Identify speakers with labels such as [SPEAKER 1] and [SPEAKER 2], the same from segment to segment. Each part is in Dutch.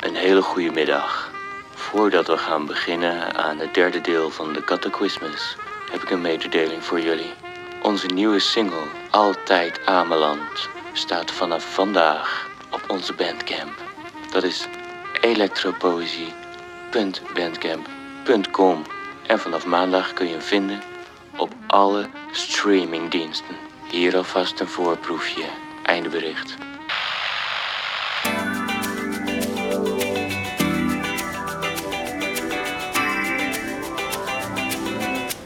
[SPEAKER 1] Een hele goede middag. Voordat we gaan beginnen aan het derde deel van de Cataclysmus, heb ik een mededeling voor jullie. Onze nieuwe single, Altijd Ameland, staat vanaf vandaag op onze bandcamp. Dat is elektropoëzie.bandcamp.com. En vanaf maandag kun je hem vinden op alle streamingdiensten. Hier alvast een voorproefje. Einde bericht.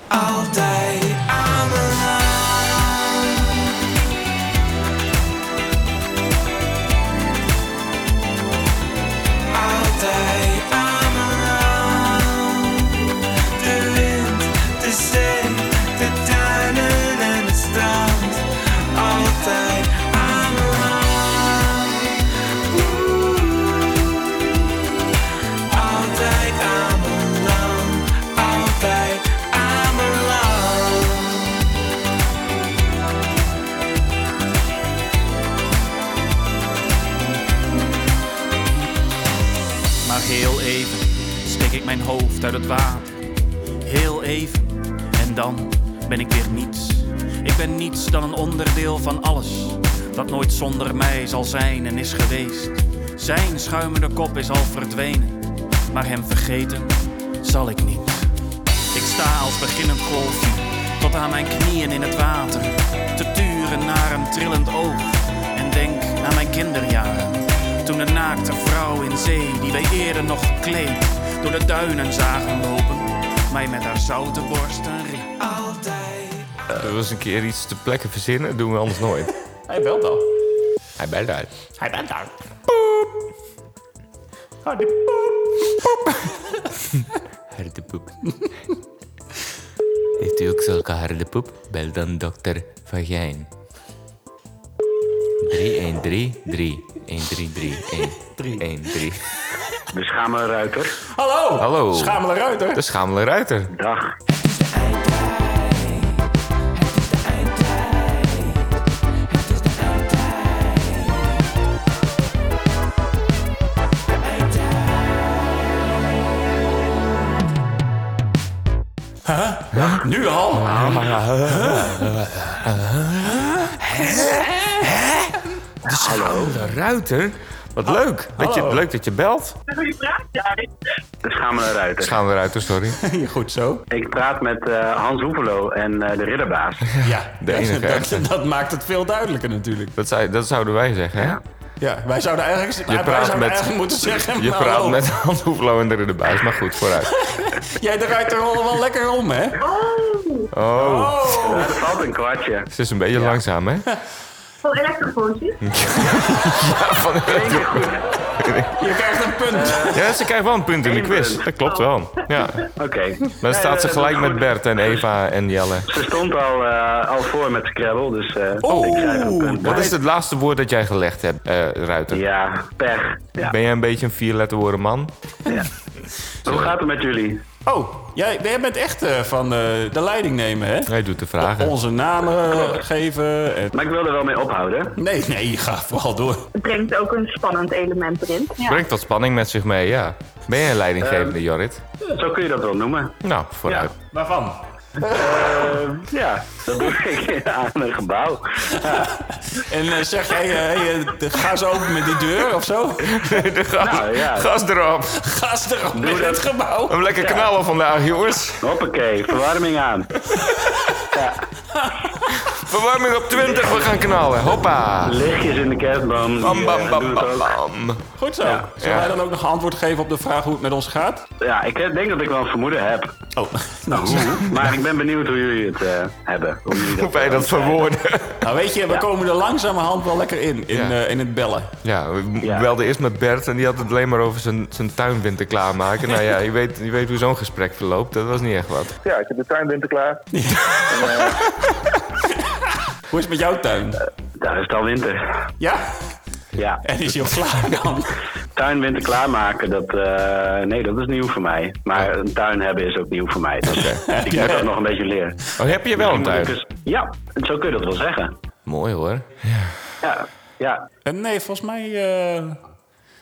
[SPEAKER 2] Altijd aan mijn Altijd aan mijn De wind, de zee, de tuinen en het strand. Altijd aan Altijd aan mijn land, altijd aan mijn land.
[SPEAKER 3] Maar heel even steek ik mijn hoofd uit het water. Heel even. En dan ben ik weer niets. Ik ben niets dan een onderdeel van alles. Dat nooit zonder mij zal zijn en is geweest. Zijn schuimende kop is al verdwenen. Maar hem vergeten zal ik niet. Ik sta als beginnend golfje, tot aan mijn knieën in het water. Te turen naar een trillend oog en denk aan mijn kinderjaren. Toen een naakte vrouw in zee, die wij eerder nog gekleed, door de duinen zagen lopen. Mij met haar zoute borst en riep.
[SPEAKER 4] Dat was Eh, een keer iets te plekken verzinnen. Dat doen we anders nooit.
[SPEAKER 5] Hij belt al.
[SPEAKER 4] Hij belt uit.
[SPEAKER 5] Hij belt al.
[SPEAKER 6] Harde poep. Heeft u ook zulke harde poep? Bel dan dokter Vagijn. 3133 133
[SPEAKER 7] De schamele ruiter.
[SPEAKER 5] Hallo!
[SPEAKER 4] Hallo.
[SPEAKER 5] Schamele Ruiter.
[SPEAKER 4] De schamele ruiter.
[SPEAKER 7] Dag.
[SPEAKER 5] Nu al?
[SPEAKER 4] De ruiter? Wat leuk. Dat je, leuk dat je belt.
[SPEAKER 7] De schamele ruiter.
[SPEAKER 4] Schamele ruiter, sorry.
[SPEAKER 5] Goed zo.
[SPEAKER 7] Ik praat met eh, Hans Hoevelo en eh, de ridderbaas.
[SPEAKER 5] Ja,
[SPEAKER 4] De enige
[SPEAKER 5] dat,
[SPEAKER 4] echte.
[SPEAKER 5] dat, dat maakt het veel duidelijker natuurlijk.
[SPEAKER 4] Dat, zou, dat zouden wij zeggen, hè?
[SPEAKER 5] Ja, wij zouden eigenlijk, wij
[SPEAKER 4] praat
[SPEAKER 5] zouden
[SPEAKER 4] met-
[SPEAKER 5] eigenlijk moeten zeggen... nou,
[SPEAKER 4] Je
[SPEAKER 5] maar
[SPEAKER 4] praat
[SPEAKER 7] Oh.
[SPEAKER 5] hallo.
[SPEAKER 4] met Hans Hoeflo en de Ridderbuis, maar goed, vooruit.
[SPEAKER 5] Jij draait er al wel lekker om, hè?
[SPEAKER 4] Oh,
[SPEAKER 7] Er valt een kwartje.
[SPEAKER 4] het is een beetje langzaam, hè?
[SPEAKER 8] Voor elektrofoontjes?
[SPEAKER 5] Je krijgt een punt.
[SPEAKER 4] Ja, ze krijgt wel een punt in de
[SPEAKER 7] Eén
[SPEAKER 4] quiz.
[SPEAKER 7] punt.
[SPEAKER 4] Dat
[SPEAKER 8] Oh.
[SPEAKER 4] klopt wel. Ja.
[SPEAKER 7] Oké.
[SPEAKER 4] Dan
[SPEAKER 7] Nee,
[SPEAKER 4] staat ze
[SPEAKER 7] eh,
[SPEAKER 4] gelijk
[SPEAKER 7] dat is
[SPEAKER 4] met
[SPEAKER 7] goed.
[SPEAKER 4] Bert en Eva en Jelle.
[SPEAKER 7] Ze stond al, eh, al voor met Scrabble, dus eh,
[SPEAKER 5] Oeh,
[SPEAKER 7] ik zei eh, er een punt bij.
[SPEAKER 4] Oh, Wat is het laatste woord dat jij gelegd hebt, eh, Ruiter?
[SPEAKER 7] Ja, pech. Ja.
[SPEAKER 4] Ben jij een beetje een vierletterwoorden man?
[SPEAKER 7] Hoe gaat het met jullie?
[SPEAKER 5] Oh, jij, jij bent echt eh, van eh, de leiding nemen, hè?
[SPEAKER 4] Hij doet de vragen.
[SPEAKER 5] Onze namen eh, geven. en-
[SPEAKER 7] Maar ik wil er wel mee ophouden.
[SPEAKER 5] Nee, nee, ga vooral door.
[SPEAKER 8] Het brengt ook een spannend element erin. Ja.
[SPEAKER 4] Brengt dat spanning met zich mee, ja. Ben jij een
[SPEAKER 7] Ehm,
[SPEAKER 4] leidinggevende, Jorrit?
[SPEAKER 7] Zo kun je dat wel noemen.
[SPEAKER 4] Nou, vooruit.
[SPEAKER 5] Waarvan?
[SPEAKER 7] Ja, dat doe ik aan een gebouw.
[SPEAKER 5] En eh, zeg jij, eh, hey, eh, de- ga zo open met die deur of zo?
[SPEAKER 4] De gas,
[SPEAKER 7] Nou, ja.
[SPEAKER 4] gas erop.
[SPEAKER 5] Gas erop in
[SPEAKER 7] dat.
[SPEAKER 5] het gebouw.
[SPEAKER 4] Een lekker knallen vandaag, jongens.
[SPEAKER 7] Hoppakee, verwarming aan.
[SPEAKER 4] Verwarming op 20, we gaan knallen. Hoppa.
[SPEAKER 7] Lichtjes in de kerstboom. die,
[SPEAKER 4] Bam, bam,
[SPEAKER 7] eh,
[SPEAKER 4] bam,
[SPEAKER 7] doen het
[SPEAKER 4] bam,
[SPEAKER 7] ook.
[SPEAKER 4] bam.
[SPEAKER 5] Goed zo. Zullen
[SPEAKER 4] Ja.
[SPEAKER 5] wij dan ook nog antwoord geven op de vraag hoe het met ons gaat?
[SPEAKER 7] Ja, ik denk dat ik wel een vermoeden heb.
[SPEAKER 5] Oh, nou,
[SPEAKER 7] Maar ik ben benieuwd hoe jullie het eh, hebben. Hoe jullie
[SPEAKER 4] Hoe wij dat verwoorden.
[SPEAKER 5] nou weet je, we komen er langzamerhand wel lekker in, in,
[SPEAKER 4] Ja.
[SPEAKER 5] eh, in het bellen.
[SPEAKER 4] Ja, we
[SPEAKER 7] Ja.
[SPEAKER 4] belden eerst met Bert en die had het alleen maar over zijn, zijn tuinwinter klaarmaken. Nou ja, je weet, je weet hoe zo'n gesprek verloopt. Dat was niet echt wat.
[SPEAKER 9] Ja, ik heb de tuinwinter klaar.
[SPEAKER 5] Hoe is het met jouw tuin?
[SPEAKER 7] Daar is het al winter.
[SPEAKER 5] Ja?
[SPEAKER 7] Ja,
[SPEAKER 5] En is hij al klaar dan?
[SPEAKER 7] tuinwinter klaarmaken, dat, eh, nee, dat is nieuw voor mij. Maar een tuin hebben is ook nieuw voor mij. Dus ik moet dat nog een beetje leren.
[SPEAKER 4] Oh, heb je wel een
[SPEAKER 7] Misschien moet ik
[SPEAKER 4] tuin?
[SPEAKER 7] dus- ja, zo kun je dat wel zeggen.
[SPEAKER 6] Mooi hoor.
[SPEAKER 7] Ja, ja.
[SPEAKER 5] Eh, Nee, volgens mij eh,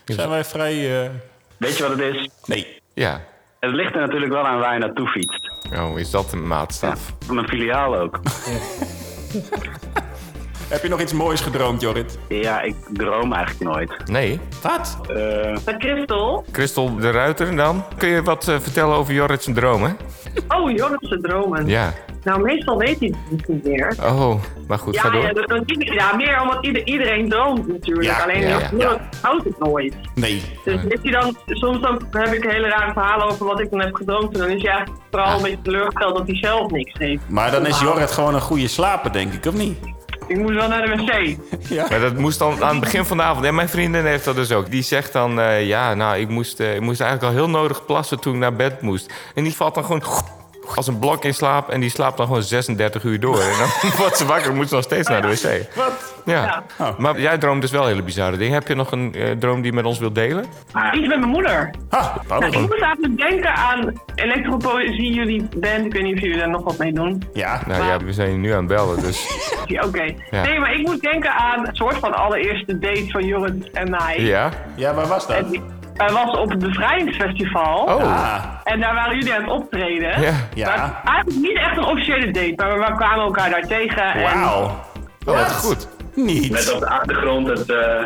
[SPEAKER 5] Zijn wij vrij... eh,
[SPEAKER 7] Weet je wat het is?
[SPEAKER 5] Nee.
[SPEAKER 4] Ja.
[SPEAKER 7] Het ligt er natuurlijk wel aan waar je naartoe fietst.
[SPEAKER 4] Oh, is dat een maatstaf?
[SPEAKER 7] Mijn filiaal ook.
[SPEAKER 5] Heb je nog iets moois gedroomd, Jorrit?
[SPEAKER 7] Ja, ik droom eigenlijk nooit.
[SPEAKER 4] Nee.
[SPEAKER 5] Wat?
[SPEAKER 7] Eh,
[SPEAKER 8] Maar Christel,
[SPEAKER 4] Christel de Ruiter dan? Kun je wat eh, vertellen over Jorrit's dromen?
[SPEAKER 8] oh joh, dat zijn dromen.
[SPEAKER 4] Ja.
[SPEAKER 8] Nou, meestal weet hij het niet meer.
[SPEAKER 4] Oh, maar goed, ga
[SPEAKER 8] Ja,
[SPEAKER 4] door.
[SPEAKER 8] ja, dat- dat- ja, meer omdat ieder- iedereen droomt natuurlijk.
[SPEAKER 5] Ja,
[SPEAKER 8] Alleen
[SPEAKER 4] ja,
[SPEAKER 8] ja,
[SPEAKER 4] ja.
[SPEAKER 8] houdt het nooit.
[SPEAKER 5] Nee.
[SPEAKER 8] Dus heeft hij dan, soms dan heb ik hele rare verhalen over wat ik dan heb gedroomd. En dan is hij eigenlijk vooral een beetje teleurgesteld dat hij zelf niks heeft.
[SPEAKER 5] Maar dan is Jorrit gewoon een goede slaper, denk ik, of niet?
[SPEAKER 8] Ik moest wel naar de wc.
[SPEAKER 5] Eh,
[SPEAKER 4] Maar dat moest dan aan het begin van de avond. En mijn vriendin heeft dat dus ook. Die zegt dan, eh, ja, nou, ik moest, eh, ik moest eigenlijk al heel nodig plassen toen ik naar bed moest. En die valt dan gewoon als een blok in slaap. En die slaapt dan gewoon 36 uur door. En dan wordt ze wakker, moet ze nog steeds naar de wc.
[SPEAKER 5] Wat?
[SPEAKER 4] Ja.
[SPEAKER 5] Ja.
[SPEAKER 4] Maar jij droomt dus wel hele bizarre dingen. Heb je nog een eh, droom die je met ons wilt delen?
[SPEAKER 8] Iets met mijn moeder.
[SPEAKER 5] Ha,
[SPEAKER 8] Nou, ik
[SPEAKER 5] pardon.
[SPEAKER 8] moest eigenlijk denken aan elektropoëzie, jullie band. Ik weet niet of jullie daar nog wat mee doen.
[SPEAKER 5] Ja.
[SPEAKER 4] Nou ja, we zijn je nu aan het bellen, dus...
[SPEAKER 8] Ja, Oké.
[SPEAKER 4] Ja.
[SPEAKER 8] Nee, maar ik moet denken aan een soort van allereerste date van Jorrit en mij.
[SPEAKER 4] Ja?
[SPEAKER 5] ja, waar was dat?
[SPEAKER 8] En die- hij was op het Bevrijdingsfestival.
[SPEAKER 4] Oh,
[SPEAKER 5] Ah,
[SPEAKER 8] En daar waren jullie aan het optreden.
[SPEAKER 4] ja.
[SPEAKER 8] Maar
[SPEAKER 5] ja.
[SPEAKER 8] eigenlijk niet echt een officiële date, maar we kwamen elkaar daar tegen. En
[SPEAKER 5] Wauw.
[SPEAKER 4] Oh, wat goed.
[SPEAKER 5] Niet.
[SPEAKER 7] met op de achtergrond het eh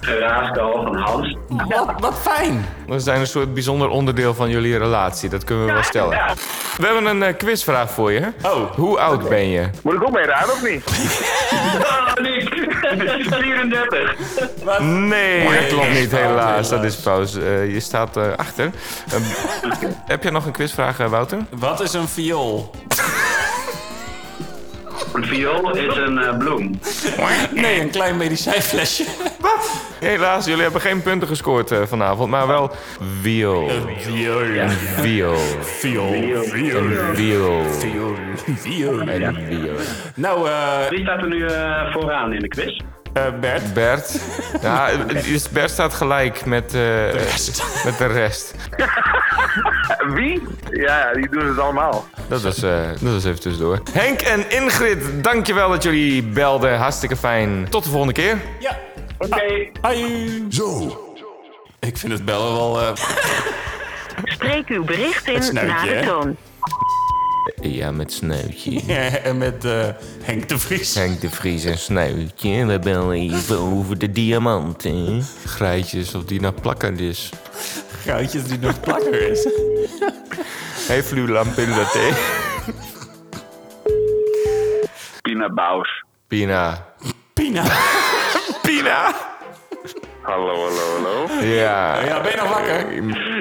[SPEAKER 7] geraaskal van Hans.
[SPEAKER 5] Wat, wat fijn.
[SPEAKER 4] We zijn een soort bijzonder onderdeel van jullie relatie. Dat kunnen we wel stellen.
[SPEAKER 8] Ja,
[SPEAKER 4] We hebben een eh, quizvraag voor je.
[SPEAKER 5] Oh.
[SPEAKER 4] Hoe oud ben je?
[SPEAKER 9] Moet ik ook mee raden of niet?
[SPEAKER 8] Oh, Nick. 34.
[SPEAKER 4] Nee, dat klopt niet,
[SPEAKER 5] fout,
[SPEAKER 4] helaas. Dat is pauze. Eh, je staat eh, achter. Eh, heb je nog een quizvraag, eh, Wouter?
[SPEAKER 5] Wat is een viool?
[SPEAKER 7] Een viool is een eh, bloem.
[SPEAKER 5] Nee, een klein medicijnflesje.
[SPEAKER 4] Helaas, jullie hebben geen punten gescoord eh, vanavond, maar wel wiel.
[SPEAKER 5] Viool.
[SPEAKER 4] Wiel.
[SPEAKER 5] Viool. Viool.
[SPEAKER 4] Wiel.
[SPEAKER 5] Viool.
[SPEAKER 4] En wiel.
[SPEAKER 5] Nou, eh,
[SPEAKER 7] Wie staat er nu eh, vooraan in de quiz?
[SPEAKER 5] eh, Bert.
[SPEAKER 4] Bert. Ja, het is- Bert staat gelijk met, eh, met de rest.
[SPEAKER 9] Wie? Ja, die doen het allemaal.
[SPEAKER 4] Dat was, eh, dat was even tussendoor. Henk en Ingrid, dankjewel dat jullie belden. Hartstikke fijn. Tot de volgende keer.
[SPEAKER 5] Ja.
[SPEAKER 7] Oké.
[SPEAKER 5] Hoi. Zo. Ik vind het bellen wel... eh,
[SPEAKER 10] Spreek uw bericht
[SPEAKER 5] Het
[SPEAKER 10] in
[SPEAKER 5] snuitje,
[SPEAKER 10] na de
[SPEAKER 5] hè?
[SPEAKER 10] toon.
[SPEAKER 6] Ja, met snuitje.
[SPEAKER 5] en met eh, Henk de Vries.
[SPEAKER 6] Henk de Vries en snuitje. We bellen even over de diamanten.
[SPEAKER 4] Grijtjes, of die nou plakkend is.
[SPEAKER 5] Goudjes die nog plakker is.
[SPEAKER 4] Heeft u lampillate?
[SPEAKER 7] Pina Bausch.
[SPEAKER 4] Pina.
[SPEAKER 5] Pina.
[SPEAKER 4] Pina!
[SPEAKER 9] Hallo, hallo, hallo.
[SPEAKER 4] Ja.
[SPEAKER 5] Ja, ben je nog wakker?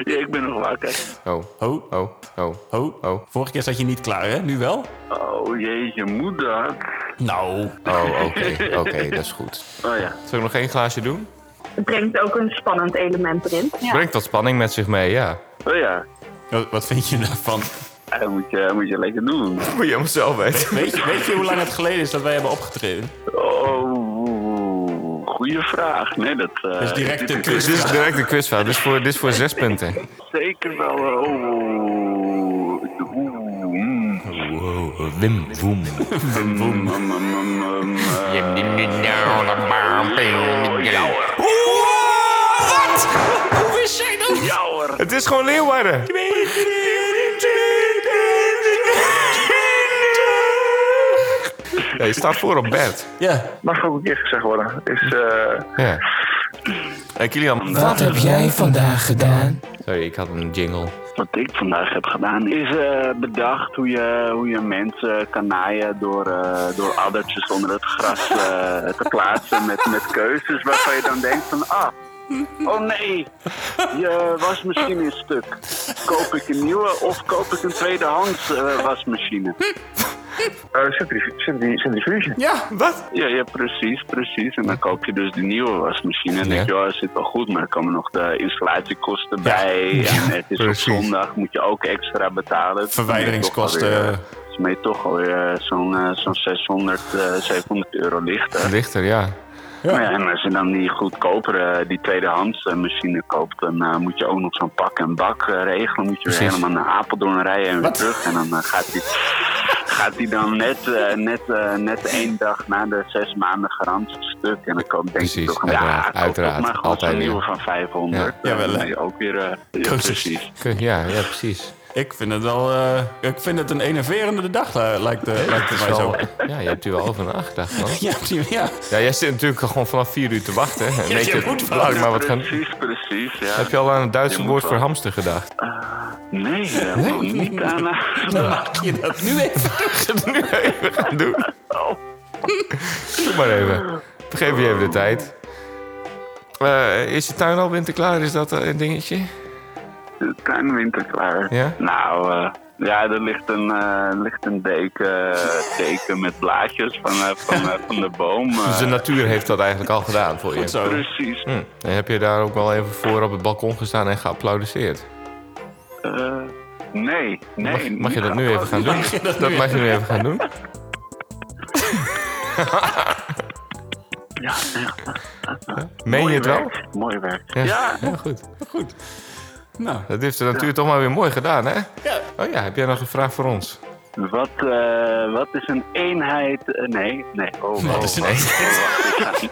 [SPEAKER 9] Ja, ik ben nog wakker.
[SPEAKER 4] Oh,
[SPEAKER 5] Ho,
[SPEAKER 4] oh, oh.
[SPEAKER 5] ho,
[SPEAKER 4] Oh.
[SPEAKER 5] Vorige keer zat je niet klaar, hè? Nu wel?
[SPEAKER 9] Oh jeetje, moeder.
[SPEAKER 5] Nou.
[SPEAKER 4] Oh, oké. Oké, dat is goed.
[SPEAKER 7] Oh ja.
[SPEAKER 4] Zal ik nog één glaasje doen?
[SPEAKER 8] Het brengt ook een spannend element erin.
[SPEAKER 4] Brengt dat spanning met zich mee, ja.
[SPEAKER 9] Oh ja,
[SPEAKER 5] Wat, wat vind je daarvan?
[SPEAKER 9] dat moet je, moet je lekker doen.
[SPEAKER 4] Moet je hem zelf weten.
[SPEAKER 5] Weet, je- weet je hoe lang het geleden is dat wij hebben opgetreden?
[SPEAKER 9] Oh, goede vraag. Nee, dat... eh,
[SPEAKER 5] Dus direct de
[SPEAKER 4] Dit
[SPEAKER 5] quiz.
[SPEAKER 4] is direct de quizvraag. Dit is voor, dit is voor zes punten.
[SPEAKER 9] Zeker wel. eh, Oh, oeh,
[SPEAKER 7] hmm.
[SPEAKER 9] mm,
[SPEAKER 6] Wow, wim, woem.
[SPEAKER 9] mm, mm, mm, mm, eh,
[SPEAKER 4] Het is gewoon Leeuwarden. Ja, je staat voor op bed.
[SPEAKER 5] Ja.
[SPEAKER 9] Mag ook een keer gezegd worden. Is, eh,
[SPEAKER 4] Ja. Hey, Kilian.
[SPEAKER 6] Wat heb jij vandaag gedaan?
[SPEAKER 4] Sorry, ik had een jingle.
[SPEAKER 7] Wat ik vandaag heb gedaan is eh, bedacht hoe je, hoe je mensen kan naaien door, eh, door addertjes onder het gras eh, te plaatsen met, met keuzes waarvan je dan denkt van ah, oh nee, je wasmachine is stuk. Koop ik een nieuwe of koop ik een tweedehands eh, wasmachine?
[SPEAKER 9] eh, centrif- centri- centrifuge.
[SPEAKER 5] Ja, wat?
[SPEAKER 7] Ja, ja, precies, precies. En dan koop je dus die nieuwe wasmachine. En denk je, oh, dat zit wel goed, maar er komen nog de installatiekosten bij. En het is
[SPEAKER 4] precies.
[SPEAKER 7] op zondag, moet je ook extra betalen.
[SPEAKER 5] Verwijderingskosten.
[SPEAKER 7] Dus ben je toch alweer eh, zo'n eh, zo'n 600, eh, 700 euro lichter.
[SPEAKER 4] Lichter, ja.
[SPEAKER 7] Maar Nou ja, en als je dan die goedkopere, die tweedehands eh, machine koopt, dan eh, moet je ook nog zo'n pak en bak eh, regelen. Moet je weer helemaal naar Apeldoorn rijden en weer terug. En dan eh, gaat die... gaat hij dan net, eh, net, eh, net één dag na de zes maanden garantie stuk. En dan komt denk
[SPEAKER 4] Precies,
[SPEAKER 7] ik toch,
[SPEAKER 4] uiteraard,
[SPEAKER 7] ja, koop toch
[SPEAKER 4] uiteraard,
[SPEAKER 7] maar gewoon
[SPEAKER 4] altijd
[SPEAKER 7] zo'n nieuwe
[SPEAKER 4] weer.
[SPEAKER 7] van 500.
[SPEAKER 4] Ja.
[SPEAKER 7] Dan
[SPEAKER 5] Jawel, hè?
[SPEAKER 7] ben je ook weer... eh, ja, precies.
[SPEAKER 4] Ja, ja, precies.
[SPEAKER 5] Ik vind het wel... eh, ik vind het een enerverende dag, eh, lijkt, eh, lijkt het mij
[SPEAKER 4] Zo.
[SPEAKER 5] zo.
[SPEAKER 4] Ja, je hebt hier wel over nagedacht, man.
[SPEAKER 5] Ja, precies, ja.
[SPEAKER 4] Ja, jij zit natuurlijk al gewoon vanaf vier uur te wachten. hè. Een
[SPEAKER 5] Ja, je
[SPEAKER 4] beetje,
[SPEAKER 5] moet wel.
[SPEAKER 4] laat ik maar wat gaan...
[SPEAKER 7] Precies, precies, ja.
[SPEAKER 4] Heb je al aan het Duitse
[SPEAKER 7] Je moet
[SPEAKER 4] woord voor
[SPEAKER 7] wel.
[SPEAKER 4] hamster gedacht?
[SPEAKER 7] Nee, eh, niet aan...
[SPEAKER 5] Laat je dat nu even.
[SPEAKER 4] nu even gaan doen. Oh. Doe maar even. We geven je even de tijd. Eh, is de tuin al winterklaar? Is dat eh, een dingetje?
[SPEAKER 7] De tuin winterklaar.
[SPEAKER 4] Ja?
[SPEAKER 7] Nou, eh, ja, er ligt een, eh, er ligt een deken, eh, deken met blaadjes van, eh, van, eh, van de boom. eh.
[SPEAKER 4] Dus de natuur heeft dat eigenlijk al gedaan voor je.
[SPEAKER 5] Zo.
[SPEAKER 7] Precies.
[SPEAKER 4] Hm. En heb je daar ook wel even voor op het balkon gestaan en geapplaudisseerd?
[SPEAKER 7] Eh, nee, nee.
[SPEAKER 4] Mag, mag je
[SPEAKER 7] niet
[SPEAKER 4] dat nu even gaan doen? Dat mag je nu even gaan doen?
[SPEAKER 7] Ja, ja.
[SPEAKER 4] Meen je het wel?
[SPEAKER 7] werk, Mooi werk.
[SPEAKER 4] Ja.
[SPEAKER 7] Ja,
[SPEAKER 4] Ja, goed.
[SPEAKER 5] Goed. Nou,
[SPEAKER 4] Dat heeft de natuur toch maar weer mooi gedaan, hè?
[SPEAKER 5] Ja.
[SPEAKER 4] Oh ja, heb jij nog een vraag voor ons?
[SPEAKER 7] Wat, eh, wat is een eenheid... eh, nee, nee. Oh, oh,
[SPEAKER 5] is
[SPEAKER 7] wacht,
[SPEAKER 5] een eenheid?
[SPEAKER 7] oh, wacht, ik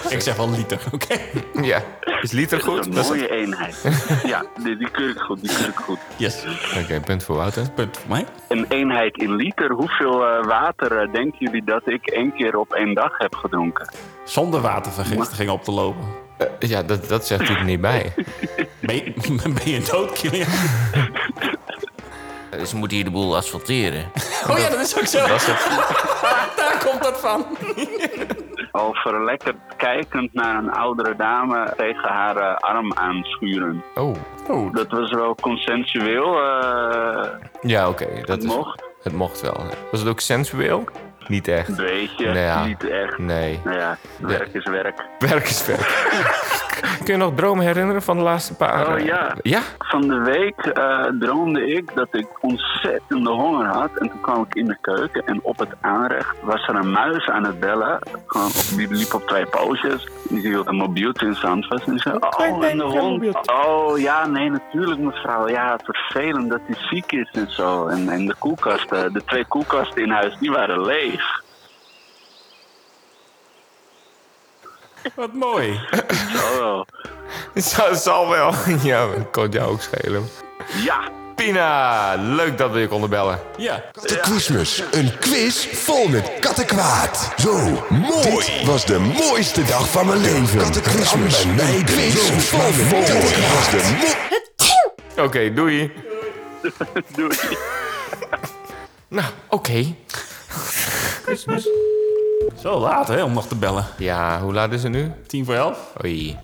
[SPEAKER 7] ga-
[SPEAKER 5] ik zeg wel liter, oké?
[SPEAKER 4] Ja. Is liter goed?
[SPEAKER 7] Een
[SPEAKER 4] Dat is-
[SPEAKER 7] mooie eenheid. ja, die, die keur ik goed, die keur ik goed.
[SPEAKER 5] Yes.
[SPEAKER 4] Oké, punt voor Wouter.
[SPEAKER 5] Punt voor mij.
[SPEAKER 7] Een eenheid in liter. Hoeveel eh, water eh, denken jullie dat ik één keer op één dag heb gedronken?
[SPEAKER 5] Zonder watervergiftiging op te lopen.
[SPEAKER 4] Eh, ja, dat, dat zegt hij er niet bij.
[SPEAKER 5] Ben je, ben je dood, Kilian?
[SPEAKER 6] Dus ze moeten hier de boel asfalteren.
[SPEAKER 5] Oh ja, dat is ook zo.
[SPEAKER 4] Dat is het.
[SPEAKER 5] Daar komt dat van.
[SPEAKER 7] Al verlekkerd kijkend naar een oudere dame tegen haar eh, arm aanschuren.
[SPEAKER 4] Oh.
[SPEAKER 7] Dat was wel consensueel. eh,
[SPEAKER 4] Ja, oké. dat
[SPEAKER 7] het
[SPEAKER 4] is-
[SPEAKER 7] mocht.
[SPEAKER 4] Het mocht wel. hè. Was het ook sensueel? Niet echt.
[SPEAKER 7] Een beetje,
[SPEAKER 4] Nou ja.
[SPEAKER 7] niet echt.
[SPEAKER 4] Nee.
[SPEAKER 7] Nou ja, werk is werk.
[SPEAKER 4] Werk is werk. Kun je nog dromen herinneren van de laatste paar?
[SPEAKER 7] Oh,
[SPEAKER 4] eh,
[SPEAKER 7] ja.
[SPEAKER 4] Ja?
[SPEAKER 7] Van de week eh, droomde ik dat ik ontzettende honger had. En toen kwam ik in de keuken en op het aanrecht was er een muis aan het bellen. Gewoon op, die liep op twee pootjes. Die hield een mobieltje in zijn hand vast. En zei, oh, en de hond. Oh, ja, nee, natuurlijk mevrouw. Ja, het vervelend dat hij ziek is en zo. En, en de koelkasten, de twee koelkasten in huis, die waren leeg.
[SPEAKER 5] Wat mooi.
[SPEAKER 7] Oh,
[SPEAKER 4] Dat zal wel. Ja, dat kon jou ook schelen.
[SPEAKER 7] ja.
[SPEAKER 4] Pina, leuk dat we je konden bellen.
[SPEAKER 5] Ja.
[SPEAKER 11] Kattenquizmus. Een quiz vol met kattenkwaad. Zo mooi. Dit was de mooiste dag van mijn leven. Kattenquizmus. Een quiz vol met kattenkwaad.
[SPEAKER 4] Oké, doei.
[SPEAKER 7] Doei.
[SPEAKER 4] Nou, oké.
[SPEAKER 5] Zo laat, hè, om nog te bellen.
[SPEAKER 4] Ja, hoe laat is het nu?
[SPEAKER 5] Tien voor elf.
[SPEAKER 4] Oei.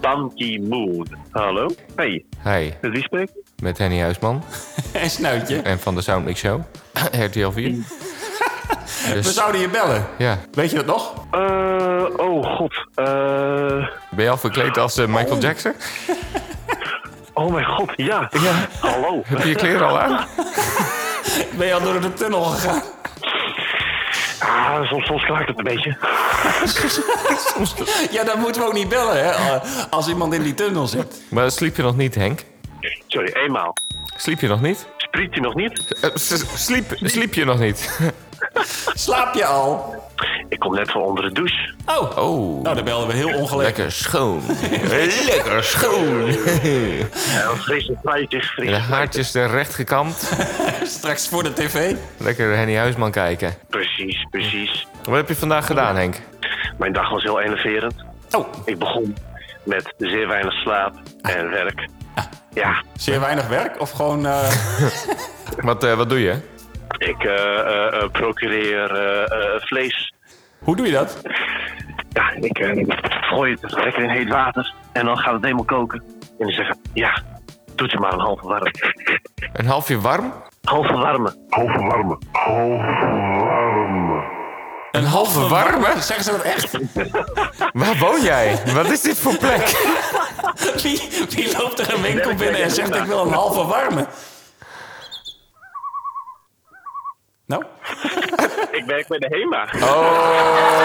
[SPEAKER 9] Banky Moon. Hallo? Hey,
[SPEAKER 4] Hi,
[SPEAKER 9] met wie spreekt?
[SPEAKER 4] met Henny Huisman
[SPEAKER 5] En snuitje.
[SPEAKER 4] en van de Soundmix Show. RTL
[SPEAKER 9] Mm.
[SPEAKER 4] 4.
[SPEAKER 5] We
[SPEAKER 4] Dus,
[SPEAKER 5] zouden je bellen.
[SPEAKER 4] ja.
[SPEAKER 5] Weet je dat nog?
[SPEAKER 9] Eh, oh god. Eh,
[SPEAKER 4] Ben je al verkleed als eh, Michael Jackson?
[SPEAKER 9] oh mijn god, ja. Hallo.
[SPEAKER 4] Heb je je kleren al aan?
[SPEAKER 5] Ben je al door de tunnel gegaan?
[SPEAKER 9] Ah, soms, soms kraakt het een beetje.
[SPEAKER 5] Ja, dan moeten we ook niet bellen, hè. eh, Als iemand in die tunnel zit.
[SPEAKER 4] Maar sliep je nog niet, Henk?
[SPEAKER 9] Sorry, eenmaal.
[SPEAKER 4] Sliep je nog niet?
[SPEAKER 9] Spreekt hij nog niet?
[SPEAKER 4] Eh, s- sliep, sliep je nog niet?
[SPEAKER 5] Slaap je al?
[SPEAKER 9] Ik kom net van onder de douche.
[SPEAKER 5] Oh.
[SPEAKER 4] Oh,
[SPEAKER 5] Nou, dan belden we heel ongelegen.
[SPEAKER 6] Lekker schoon. Lekker schoon.
[SPEAKER 9] Ja, vreselijk spijtig,
[SPEAKER 4] de
[SPEAKER 9] vreselijk.
[SPEAKER 4] haartjes er recht gekamd.
[SPEAKER 5] Straks voor de tv.
[SPEAKER 4] Lekker Henny Huisman kijken.
[SPEAKER 9] Precies, precies.
[SPEAKER 4] Wat heb je vandaag gedaan, Henk?
[SPEAKER 9] Mijn dag was heel enerverend.
[SPEAKER 5] Oh,
[SPEAKER 9] Ik begon met zeer weinig slaap en werk.
[SPEAKER 5] Ah.
[SPEAKER 9] Ja,
[SPEAKER 5] zeer weinig werk? Of gewoon... eh,
[SPEAKER 4] Wat, eh, wat doe je?
[SPEAKER 9] ik eh, eh, eh, procureer eh, eh, vlees.
[SPEAKER 5] Hoe doe je dat?
[SPEAKER 9] Ja, ik eh, gooi het lekker in heet water en dan gaat het helemaal koken. En dan zeggen, ja, doet je maar een halve warm.
[SPEAKER 4] Een halfje warm?
[SPEAKER 9] Halve warme. Halve warme.
[SPEAKER 5] Een
[SPEAKER 4] halve warme?
[SPEAKER 5] Zeggen ze dat echt?
[SPEAKER 4] Waar woon jij? Wat is dit voor plek?
[SPEAKER 5] Wie, wie loopt er een winkel binnen en zegt ik wil een halve warme? Nou?
[SPEAKER 9] Oh, Ik werk bij de HEMA.
[SPEAKER 4] Oh.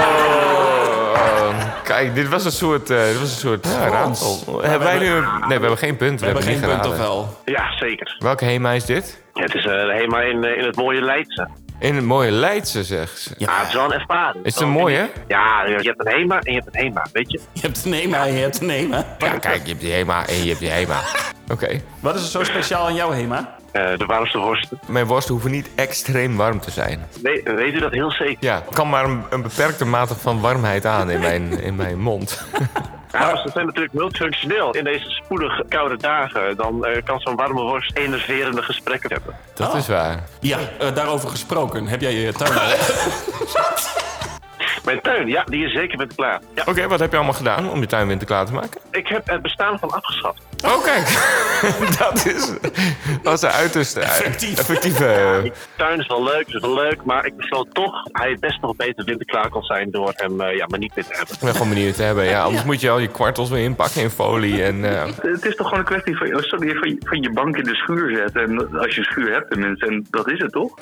[SPEAKER 4] Kijk, dit was een soort, eh, dit was een soort ja,
[SPEAKER 5] Frans.
[SPEAKER 4] raadsel.
[SPEAKER 5] Maar
[SPEAKER 4] Hebben wij
[SPEAKER 5] we
[SPEAKER 4] nu...
[SPEAKER 5] hebben-
[SPEAKER 4] een- Nee, we hebben geen punt.
[SPEAKER 5] We hebben geen
[SPEAKER 4] niet
[SPEAKER 5] punt of
[SPEAKER 4] geraden.
[SPEAKER 5] wel?
[SPEAKER 9] Ja, zeker.
[SPEAKER 4] Welke HEMA is dit?
[SPEAKER 9] Het is eh, helemaal in, eh, in het mooie Leidse.
[SPEAKER 4] In het mooie Leidse, zegt ze.
[SPEAKER 9] Ja, het is wel een ervaring.
[SPEAKER 4] Is het een mooie, hè?
[SPEAKER 9] Ja, je hebt een HEMA en je hebt een HEMA, weet je?
[SPEAKER 5] Je hebt een HEMA, je hebt een HEMA.
[SPEAKER 4] Ja, kijk, je hebt die HEMA en je hebt die HEMA. Oké.
[SPEAKER 5] Wat is er zo speciaal aan jouw HEMA?
[SPEAKER 9] Eh, de warmste worsten.
[SPEAKER 4] Mijn worsten hoeven niet extreem warm te zijn.
[SPEAKER 9] We- weet u dat heel zeker?
[SPEAKER 4] Ja, kan maar een, een beperkte mate van warmheid aan in mijn, in mijn mond.
[SPEAKER 9] Ja, maar ze zijn natuurlijk multifunctioneel. In deze spoedig koude dagen, dan eh, kan zo'n warme worst enerverende gesprekken hebben.
[SPEAKER 4] Dat is waar.
[SPEAKER 5] Ja, eh, daarover gesproken. Heb jij je tuin?
[SPEAKER 9] Mijn tuin, ja, die is zeker met klaar. Ja,
[SPEAKER 4] Oké, wat heb je allemaal gedaan om je tuin winterklaar te maken?
[SPEAKER 9] ik heb het bestaan van afgeschaft.
[SPEAKER 4] Oh, kijk. dat is... Dat is de uiterste...
[SPEAKER 9] Effectief.
[SPEAKER 4] Effectieve...
[SPEAKER 9] Die tuin is wel leuk, is wel leuk, maar ik besloot toch hij best nog beter winterklaar kon zijn door hem eh, ja, maar niet meer te hebben.
[SPEAKER 4] Ik ben gewoon benieuwd te hebben. Ja, anders moet je al je kwartels weer inpakken in folie. En, eh,
[SPEAKER 12] Het is toch gewoon een kwestie van, oh, sorry, van, van je bank in de schuur zetten. En als je een schuur hebt tenminste, en dat is het toch?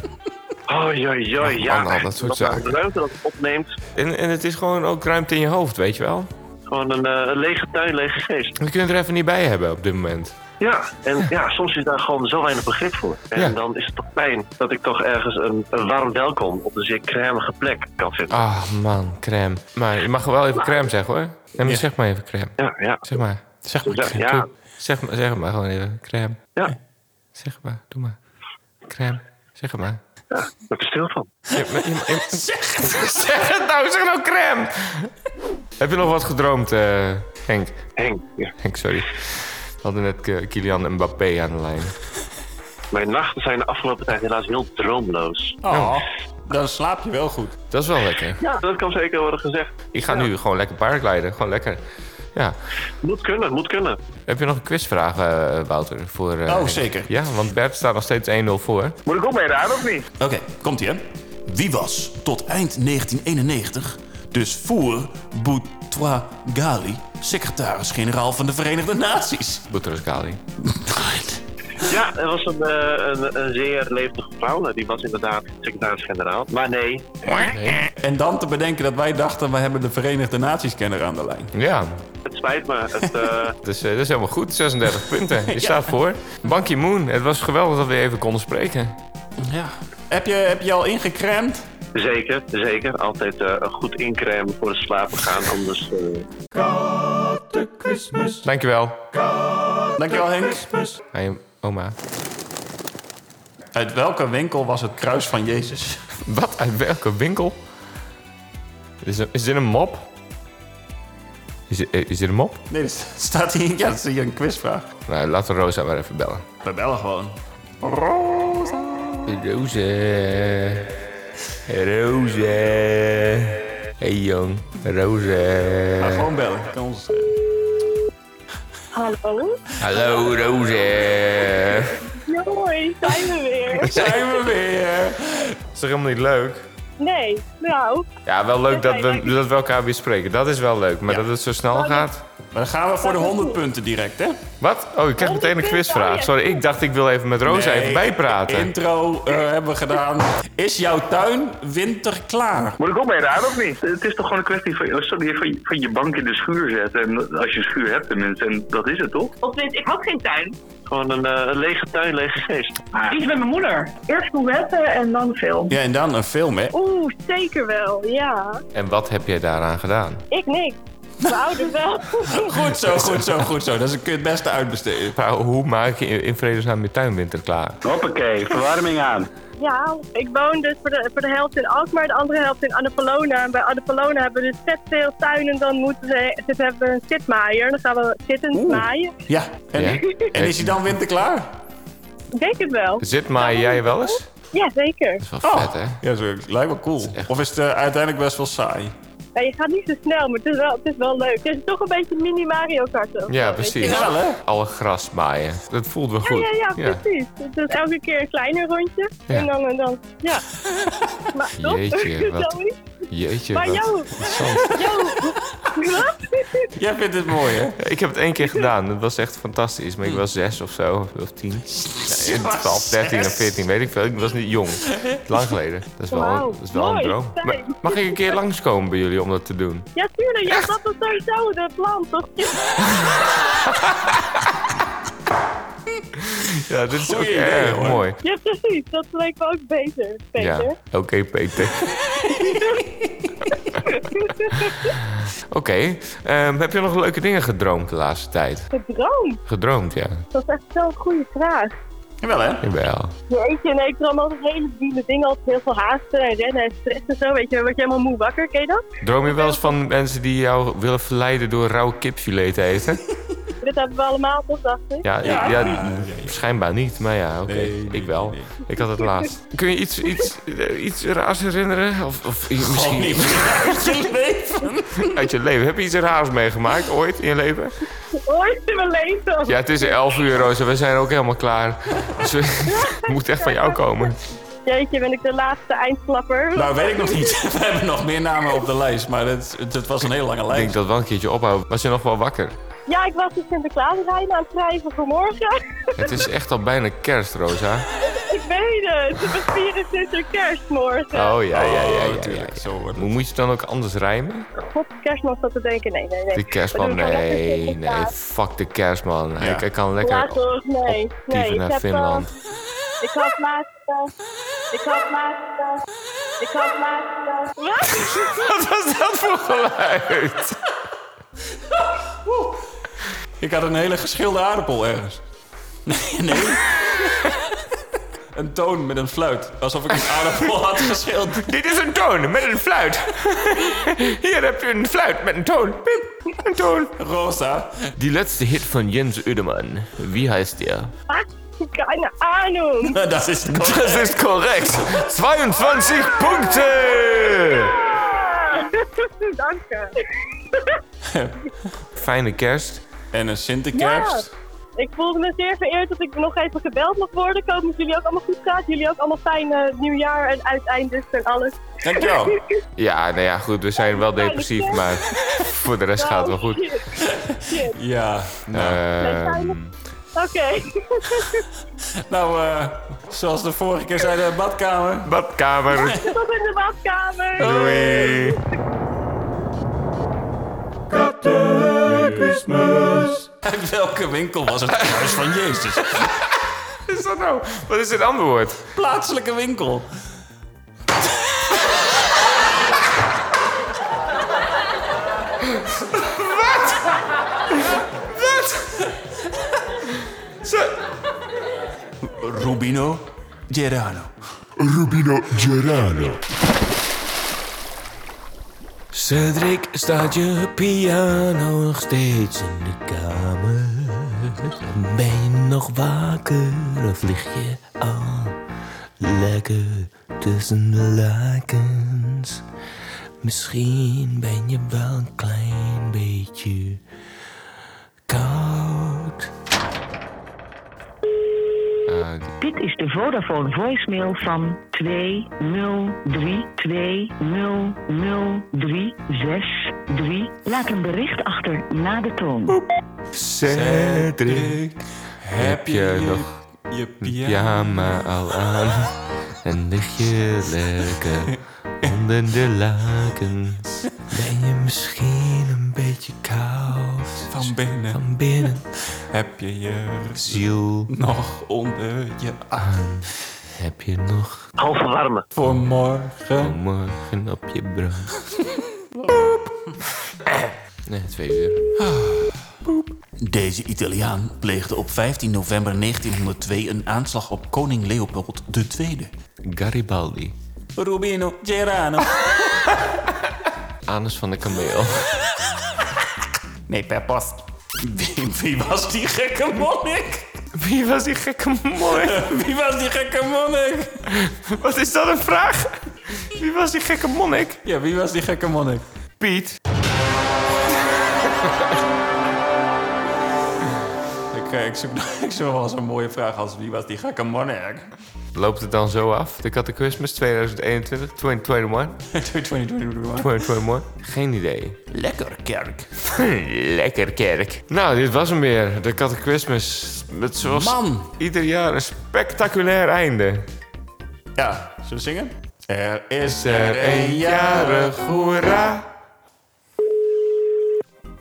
[SPEAKER 9] Oh, joi, joi,
[SPEAKER 4] Ach,
[SPEAKER 9] ja.
[SPEAKER 4] man, al dat soort
[SPEAKER 9] dat
[SPEAKER 4] zaken.
[SPEAKER 9] de ruimte dat het opneemt.
[SPEAKER 4] en, en het is gewoon ook ruimte in je hoofd, weet je wel?
[SPEAKER 9] Gewoon een, eh, een lege tuin, lege geest.
[SPEAKER 4] We kunnen er even niet bij hebben op dit moment.
[SPEAKER 9] Ja, en ja, soms is daar gewoon zo weinig begrip voor. En
[SPEAKER 4] Ja.
[SPEAKER 9] dan is het toch pijn dat ik toch ergens een, een warm welkom op een zeer crèmige plek kan vinden.
[SPEAKER 4] Ah, man, crème. Maar je mag wel even crème zeggen, hoor. Nee, maar
[SPEAKER 9] Ja.
[SPEAKER 4] zeg maar even crème.
[SPEAKER 9] Ja, ja.
[SPEAKER 4] Zeg maar. Zeg maar.
[SPEAKER 9] Ja,
[SPEAKER 4] crème.
[SPEAKER 9] ja.
[SPEAKER 4] Doe- Zeg maar, zeg het maar gewoon even. Crème.
[SPEAKER 9] Ja.
[SPEAKER 4] Zeg het maar. Doe maar. Crème. Zeg het maar.
[SPEAKER 9] Ja, daar ben ik stil van.
[SPEAKER 4] zeg, het nou. Zeg nou crème. Heb je nog wat gedroomd, eh, Henk?
[SPEAKER 9] Henk, ja.
[SPEAKER 4] Henk, sorry. We hadden net eh, Kylian Mbappé aan de lijn.
[SPEAKER 9] Mijn nachten zijn de afgelopen tijd helaas heel droomloos.
[SPEAKER 5] Oh, dan slaap je wel goed.
[SPEAKER 4] Dat is wel lekker.
[SPEAKER 9] Ja, dat kan zeker worden gezegd.
[SPEAKER 4] Ik ga nu gewoon lekker paardrijden. Gewoon lekker. Ja.
[SPEAKER 9] Moet kunnen, moet kunnen.
[SPEAKER 4] Heb je nog een quizvraag, eh, Wouter? Voor, eh,
[SPEAKER 9] Oh,
[SPEAKER 4] Henk?
[SPEAKER 9] zeker.
[SPEAKER 4] Ja, want Bert staat nog steeds 1-0 voor.
[SPEAKER 9] Moet ik ook mee raden of niet?
[SPEAKER 5] Oké, komt ie hè. Wie was tot eind 1991, dus voor Boutros-Ghali, secretaris-generaal van de Verenigde Naties?
[SPEAKER 4] Boutros-Ghali.
[SPEAKER 9] Ja, er was een, eh, een, een zeer levendige vrouw. Nou, Die was inderdaad secretaris-generaal. Maar nee.
[SPEAKER 5] En dan te bedenken dat wij dachten, we hebben de Verenigde Naties-kenner aan de lijn.
[SPEAKER 4] Ja,
[SPEAKER 9] Het spijt me. Het, eh,
[SPEAKER 4] dus, eh, dat is helemaal goed. 36 punten. Je
[SPEAKER 5] Ja.
[SPEAKER 4] staat voor. Ban Ki-moon. Het was geweldig dat we even konden spreken.
[SPEAKER 5] Ja. Heb je, heb je al ingecremd?
[SPEAKER 9] zeker, zeker. Altijd eh, een goed incrème voor het slapen gaan. Anders... eh,
[SPEAKER 4] Dankjewel.
[SPEAKER 5] Dankjewel Henk.
[SPEAKER 4] Aan je oma.
[SPEAKER 5] Uit welke winkel was het kruis van Jezus?
[SPEAKER 4] Wat? Uit welke winkel? Is, er- is dit een mop? Is, dit- eh, is dit een mop?
[SPEAKER 5] Nee, dat staat hier, ja, dat is hier een quizvraag.
[SPEAKER 4] Nou, laten we Rosa maar even bellen.
[SPEAKER 5] We bellen gewoon.
[SPEAKER 4] Roze. Roze. Hey jong. Roze.
[SPEAKER 5] Maar gewoon bellen. Kan ons...
[SPEAKER 13] Hallo?
[SPEAKER 4] Hallo Roze.
[SPEAKER 13] Hoi, zijn we weer?
[SPEAKER 4] Zijn we weer. Is toch helemaal niet leuk?
[SPEAKER 13] Nee, nou,
[SPEAKER 4] Ja, wel leuk dat we, dat we elkaar weer spreken. Dat is wel leuk. Maar dat het zo snel gaat.
[SPEAKER 5] Maar dan gaan we voor de 100 punten direct, hè?
[SPEAKER 4] Wat? Oh, ik krijg meteen een quizvraag. Sorry, ik dacht ik wil even met Rosa
[SPEAKER 5] Nee,
[SPEAKER 4] even bijpraten.
[SPEAKER 5] Intro eh, hebben we gedaan. Is jouw tuin winterklaar?
[SPEAKER 12] Moet ik ook mee raden of niet? Het is toch gewoon een kwestie van, oh, sorry, van, van je bank in de schuur zetten. En als je een schuur hebt tenminste, en dat is het toch?
[SPEAKER 8] Of dit, ik had geen tuin.
[SPEAKER 9] Gewoon een, eh, een lege tuin, lege geest.
[SPEAKER 8] Die is met mijn moeder.
[SPEAKER 13] eerst couvetten en dan film.
[SPEAKER 5] Ja, en dan een film, hè?
[SPEAKER 13] Oeh, zeker wel, ja.
[SPEAKER 4] En wat heb jij daaraan gedaan?
[SPEAKER 13] Ik niks. Mijn ouders wel.
[SPEAKER 5] Goed zo, goed zo, goed zo. Dat is een- het beste uitbesteden.
[SPEAKER 4] Vrouw, Nou, hoe maak je in- in vredesnaam je tuinwinter klaar?
[SPEAKER 12] Hoppakee, verwarming aan.
[SPEAKER 13] Ja, ik woon dus voor de, voor de helft in Alkmaar, de andere helft in Annapolona. En bij Annapolona hebben we dus vet veel tuinen. Dan moeten ze, dus hebben we een zitmaaier. Dan gaan we zittend maaien.
[SPEAKER 5] Ja. En, en is hij dan winterklaar?
[SPEAKER 13] Ik denk het wel.
[SPEAKER 4] Zit maar jij wel eens?
[SPEAKER 13] Ja, zeker.
[SPEAKER 4] Wel
[SPEAKER 13] Oh.
[SPEAKER 4] vet, hè?
[SPEAKER 5] Oh. Ja, zo, lijkt wel cool. Of is het eh, uiteindelijk best wel saai?
[SPEAKER 13] Ja, je gaat niet zo snel, maar het is wel, het is wel leuk. Het is toch een beetje mini Mario Kart. of zo,
[SPEAKER 4] Ja,
[SPEAKER 13] weet je
[SPEAKER 4] precies.
[SPEAKER 13] wel.
[SPEAKER 4] Alle gras maaien. Dat voelt wel
[SPEAKER 13] Ja,
[SPEAKER 4] goed.
[SPEAKER 13] ja, ja, precies. Dus elke keer een kleiner rondje.
[SPEAKER 4] Ja.
[SPEAKER 13] En dan, en dan, ja. maar, toch?
[SPEAKER 4] Jeetje, wat-
[SPEAKER 13] Zoiets.
[SPEAKER 4] Jeetje,
[SPEAKER 13] Maar
[SPEAKER 4] wat
[SPEAKER 13] jou,
[SPEAKER 4] interessant.
[SPEAKER 13] jou, wat?
[SPEAKER 4] Jij vindt het mooi, hè? Hmm. Ik heb het één keer gedaan. Dat was echt fantastisch. Maar ik was zes of zo, of tien. Nee,
[SPEAKER 2] was
[SPEAKER 4] 12, 13 of
[SPEAKER 2] zes.
[SPEAKER 4] 14, weet ik veel. Ik was niet jong. Lang geleden. Dat is wel,
[SPEAKER 13] Wauw,
[SPEAKER 4] dat is wel een
[SPEAKER 13] mooi.
[SPEAKER 4] droom. Maar mag ik een keer langskomen bij jullie om dat te doen?
[SPEAKER 13] Ja, tuurlijk. Ja, dat was sowieso het plan, toch?
[SPEAKER 4] Ja, dit is ook
[SPEAKER 2] idee,
[SPEAKER 4] erg
[SPEAKER 2] hoor.
[SPEAKER 4] mooi.
[SPEAKER 13] Ja, precies. Dat leek me ook beter,
[SPEAKER 4] Ja,
[SPEAKER 13] Peter.
[SPEAKER 4] oké Peter. Oké, ehm, heb je nog leuke dingen gedroomd de laatste tijd?
[SPEAKER 13] Gedroomd.
[SPEAKER 4] Gedroomd, ja.
[SPEAKER 13] Dat is echt zo'n goede vraag.
[SPEAKER 5] Jawel, hè?
[SPEAKER 4] Jawel.
[SPEAKER 13] Jeetje, nee, ik droom altijd hele biele dingen. Altijd heel veel haasten en rennen en stress en zo. Weet je, dan word je helemaal moe wakker, ken je dat?
[SPEAKER 4] Droom je wel eens van mensen die jou willen verleiden door rauw kipfilet te eten?
[SPEAKER 13] Dit hebben we allemaal, toch, dacht ik?
[SPEAKER 4] Ja, ja. schijnbaar niet, maar ja, oké. ik wel. Ik had het laatst. Kun je iets, iets, eh, iets raars herinneren? Of, of misschien
[SPEAKER 2] niet
[SPEAKER 5] uit je leven.
[SPEAKER 4] uit je leven? Heb je iets raars meegemaakt ooit in je leven?
[SPEAKER 13] Ooit in mijn leven.
[SPEAKER 4] Ja, het is 11 uur, Rosa. We zijn ook helemaal klaar. Dus we- het moet echt van jou komen.
[SPEAKER 13] Jeetje, ben ik de laatste eindklapper.
[SPEAKER 5] Nou, weet ik nog niet. We hebben nog meer namen op de lijst, maar het, het, het was een hele lange
[SPEAKER 4] Ik
[SPEAKER 5] lijst.
[SPEAKER 4] denk dat wel een keertje ophouden. Was je nog wel wakker?
[SPEAKER 13] Ja, ik was dus de Sinterklaasrijden aan het schrijven vanmorgen.
[SPEAKER 4] Het is echt al bijna kerst, Rosa.
[SPEAKER 13] ik weet het. We vieren Sinterkerstmorgen.
[SPEAKER 4] Oh ja, ja, ja. ja, ja, Zo Hoe moet je het dan ook anders rijmen?
[SPEAKER 13] God, de kerstman staat te denken. Nee, nee, nee.
[SPEAKER 4] De kerstman,
[SPEAKER 13] We doen gewoon lekker
[SPEAKER 4] nee, nee,
[SPEAKER 13] Sinterklaas.
[SPEAKER 4] fuck de kerstman. Hij, hij kan lekker
[SPEAKER 13] Laat ons, nee. Nee,
[SPEAKER 4] dieven
[SPEAKER 13] ik
[SPEAKER 4] naar
[SPEAKER 13] heb,
[SPEAKER 4] Finland.
[SPEAKER 13] eh, ik had laatst... eh, ik had laatst... eh, ik had laatst... eh,
[SPEAKER 4] Wat was dat voor geluid?
[SPEAKER 5] Ik had een hele geschilde aardappel ergens. Nee, nee. Een toon met een fluit. Alsof ik een aardappel had geschild.
[SPEAKER 4] Dit is een toon met een fluit. Hier heb je een fluit met een toon. Piep, een toon.
[SPEAKER 5] Rosa.
[SPEAKER 6] Die letzte Hit von Jens Udemann. Wie heißt der?
[SPEAKER 13] Wat? Keine Ahnung.
[SPEAKER 5] Das ist korrekt.
[SPEAKER 4] Das ist korrekt. 22 Punkte.
[SPEAKER 13] Dank je.
[SPEAKER 4] Fijne kerst.
[SPEAKER 5] En een
[SPEAKER 13] Ja. Ik voelde me zeer vereerd dat ik nog even gebeld mag worden. Ik hoop dat jullie ook allemaal goed gaat. Jullie ook allemaal fijn eh, nieuwjaar en uiteindes en alles.
[SPEAKER 4] Dankjewel. Ja, nou ja, goed. We zijn wel depressief, maar voor de rest gaat het wel goed.
[SPEAKER 13] Shit, shit.
[SPEAKER 5] Ja.
[SPEAKER 4] Ehm,
[SPEAKER 13] Oké.
[SPEAKER 5] Nou, eh, zoals de vorige keer zei, de badkamer.
[SPEAKER 4] Badkamer.
[SPEAKER 13] Tot in de badkamer.
[SPEAKER 4] Doei.
[SPEAKER 5] Uit welke winkel was het het huis van Jezus?
[SPEAKER 4] is dat nou? Wat is het antwoord?
[SPEAKER 5] Plaatselijke winkel.
[SPEAKER 2] Wat? Wat?
[SPEAKER 4] Ze...
[SPEAKER 5] Rubino Gerano.
[SPEAKER 11] Rubino Gerano.
[SPEAKER 6] Cedric, staat je piano nog steeds in de kamer? Ben je nog wakker of lig je al lekker tussen de lakens? Misschien ben je wel een klein beetje koud.
[SPEAKER 10] Dit is de Vodafone voicemail van 203200363. Laat een bericht achter na de toon.
[SPEAKER 4] Cedric, heb je nog
[SPEAKER 5] je
[SPEAKER 6] pyjama al aan? En lig je lekker onder de lakens? Ben je misschien een beetje koud?
[SPEAKER 5] Van binnen.
[SPEAKER 6] Van binnen.
[SPEAKER 5] Heb je je
[SPEAKER 6] ziel
[SPEAKER 5] nog onder je
[SPEAKER 6] aan? Heb je nog
[SPEAKER 9] Halve warme.
[SPEAKER 5] Voor morgen.
[SPEAKER 6] morgen op je brand? Nee, twee uur.
[SPEAKER 5] Deze Italiaan pleegde op 15 november 1902 een aanslag op koning Leopold II.
[SPEAKER 6] Garibaldi.
[SPEAKER 5] Rubino Gerano.
[SPEAKER 6] Anus van de kameel.
[SPEAKER 5] Nee, per post. Wie, wie was die gekke monnik?
[SPEAKER 4] Wie was die gekke monnik?
[SPEAKER 5] Wie was die gekke monnik?
[SPEAKER 4] Wat is dat een vraag? Wie was die gekke monnik?
[SPEAKER 5] Ja, wie was die gekke monnik?
[SPEAKER 4] Piet.
[SPEAKER 5] Ik eh, ik, zoek, ik zoek wel zo'n mooie vraag als wie was die gekke monnik?
[SPEAKER 4] Loopt het dan zo af? De Catechismus 2021, 2021?
[SPEAKER 5] 2021.
[SPEAKER 4] 2021? Geen idee. Hm,
[SPEAKER 5] Lekker kerk.
[SPEAKER 4] Lekker kerk. Nou, dit was hem weer. De Catechismus. Met zoals
[SPEAKER 5] Man.
[SPEAKER 4] ieder jaar een spectaculair einde.
[SPEAKER 5] Ja, zullen we zingen? Er
[SPEAKER 4] is er een jarig, hoera.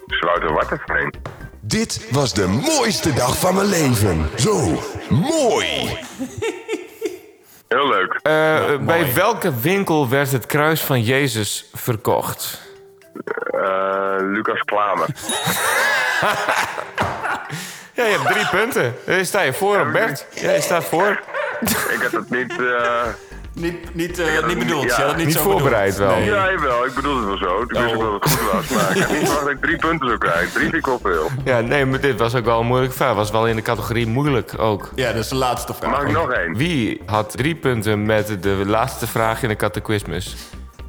[SPEAKER 11] Sluiten Wattenveen. Dit was de mooiste dag van mijn leven. Zo mooi.
[SPEAKER 4] Heel leuk. Eh, bij welke winkel werd het kruis van Jezus verkocht?
[SPEAKER 12] Eh, Lucas Klamer.
[SPEAKER 4] Ja, je hebt drie punten. Daar sta je voor op Bert. Jij staat voor.
[SPEAKER 12] ik had het niet... eh,
[SPEAKER 5] Niet, niet,
[SPEAKER 12] ik
[SPEAKER 5] eh,
[SPEAKER 12] had het
[SPEAKER 5] niet bedoeld.
[SPEAKER 12] ja.
[SPEAKER 5] Je had het niet, zo
[SPEAKER 4] voorbereid
[SPEAKER 5] bedoeld. Nee.
[SPEAKER 12] Ja, jawel. Ik bedoelde het wel zo. Ik wist ook dat het goed was. Maar ik had niet verwacht dat ik drie punten zou krijgen. Drie vind ik op veel.
[SPEAKER 4] Ja, nee, maar dit was ook wel een moeilijke vraag. Was wel in de categorie moeilijk ook.
[SPEAKER 5] Ja, dat is de laatste vraag.
[SPEAKER 12] Mag ik nog één?
[SPEAKER 4] Wie had drie punten met de laatste vraag in de catechismus?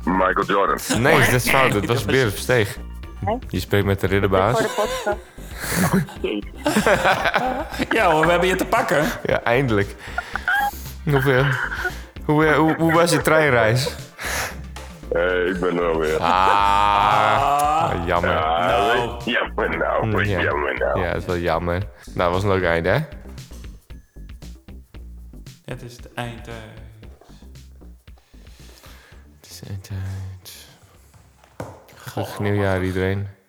[SPEAKER 12] Michael Jordan.
[SPEAKER 4] Nee, dat is fout. Dat was Berend Versteeg. Je spreekt met de ridderbaas.
[SPEAKER 5] Ja hoor, we hebben je te pakken.
[SPEAKER 4] Ja, eindelijk. Hoeveel? Hoe, eh, hoe, hoe was je treinreis?
[SPEAKER 12] Eh, ik ben er alweer.
[SPEAKER 4] Ah, jammer.
[SPEAKER 12] Ja, weet je, jammer nou. weet je,
[SPEAKER 4] Ja.
[SPEAKER 12] Jammer nou.
[SPEAKER 4] Ja, dat is wel jammer. Nou, dat was een leuk einde, hè?
[SPEAKER 5] Het is het eind. eh.
[SPEAKER 4] eh, Het is eind, eind. Gelukkig nieuwjaar iedereen.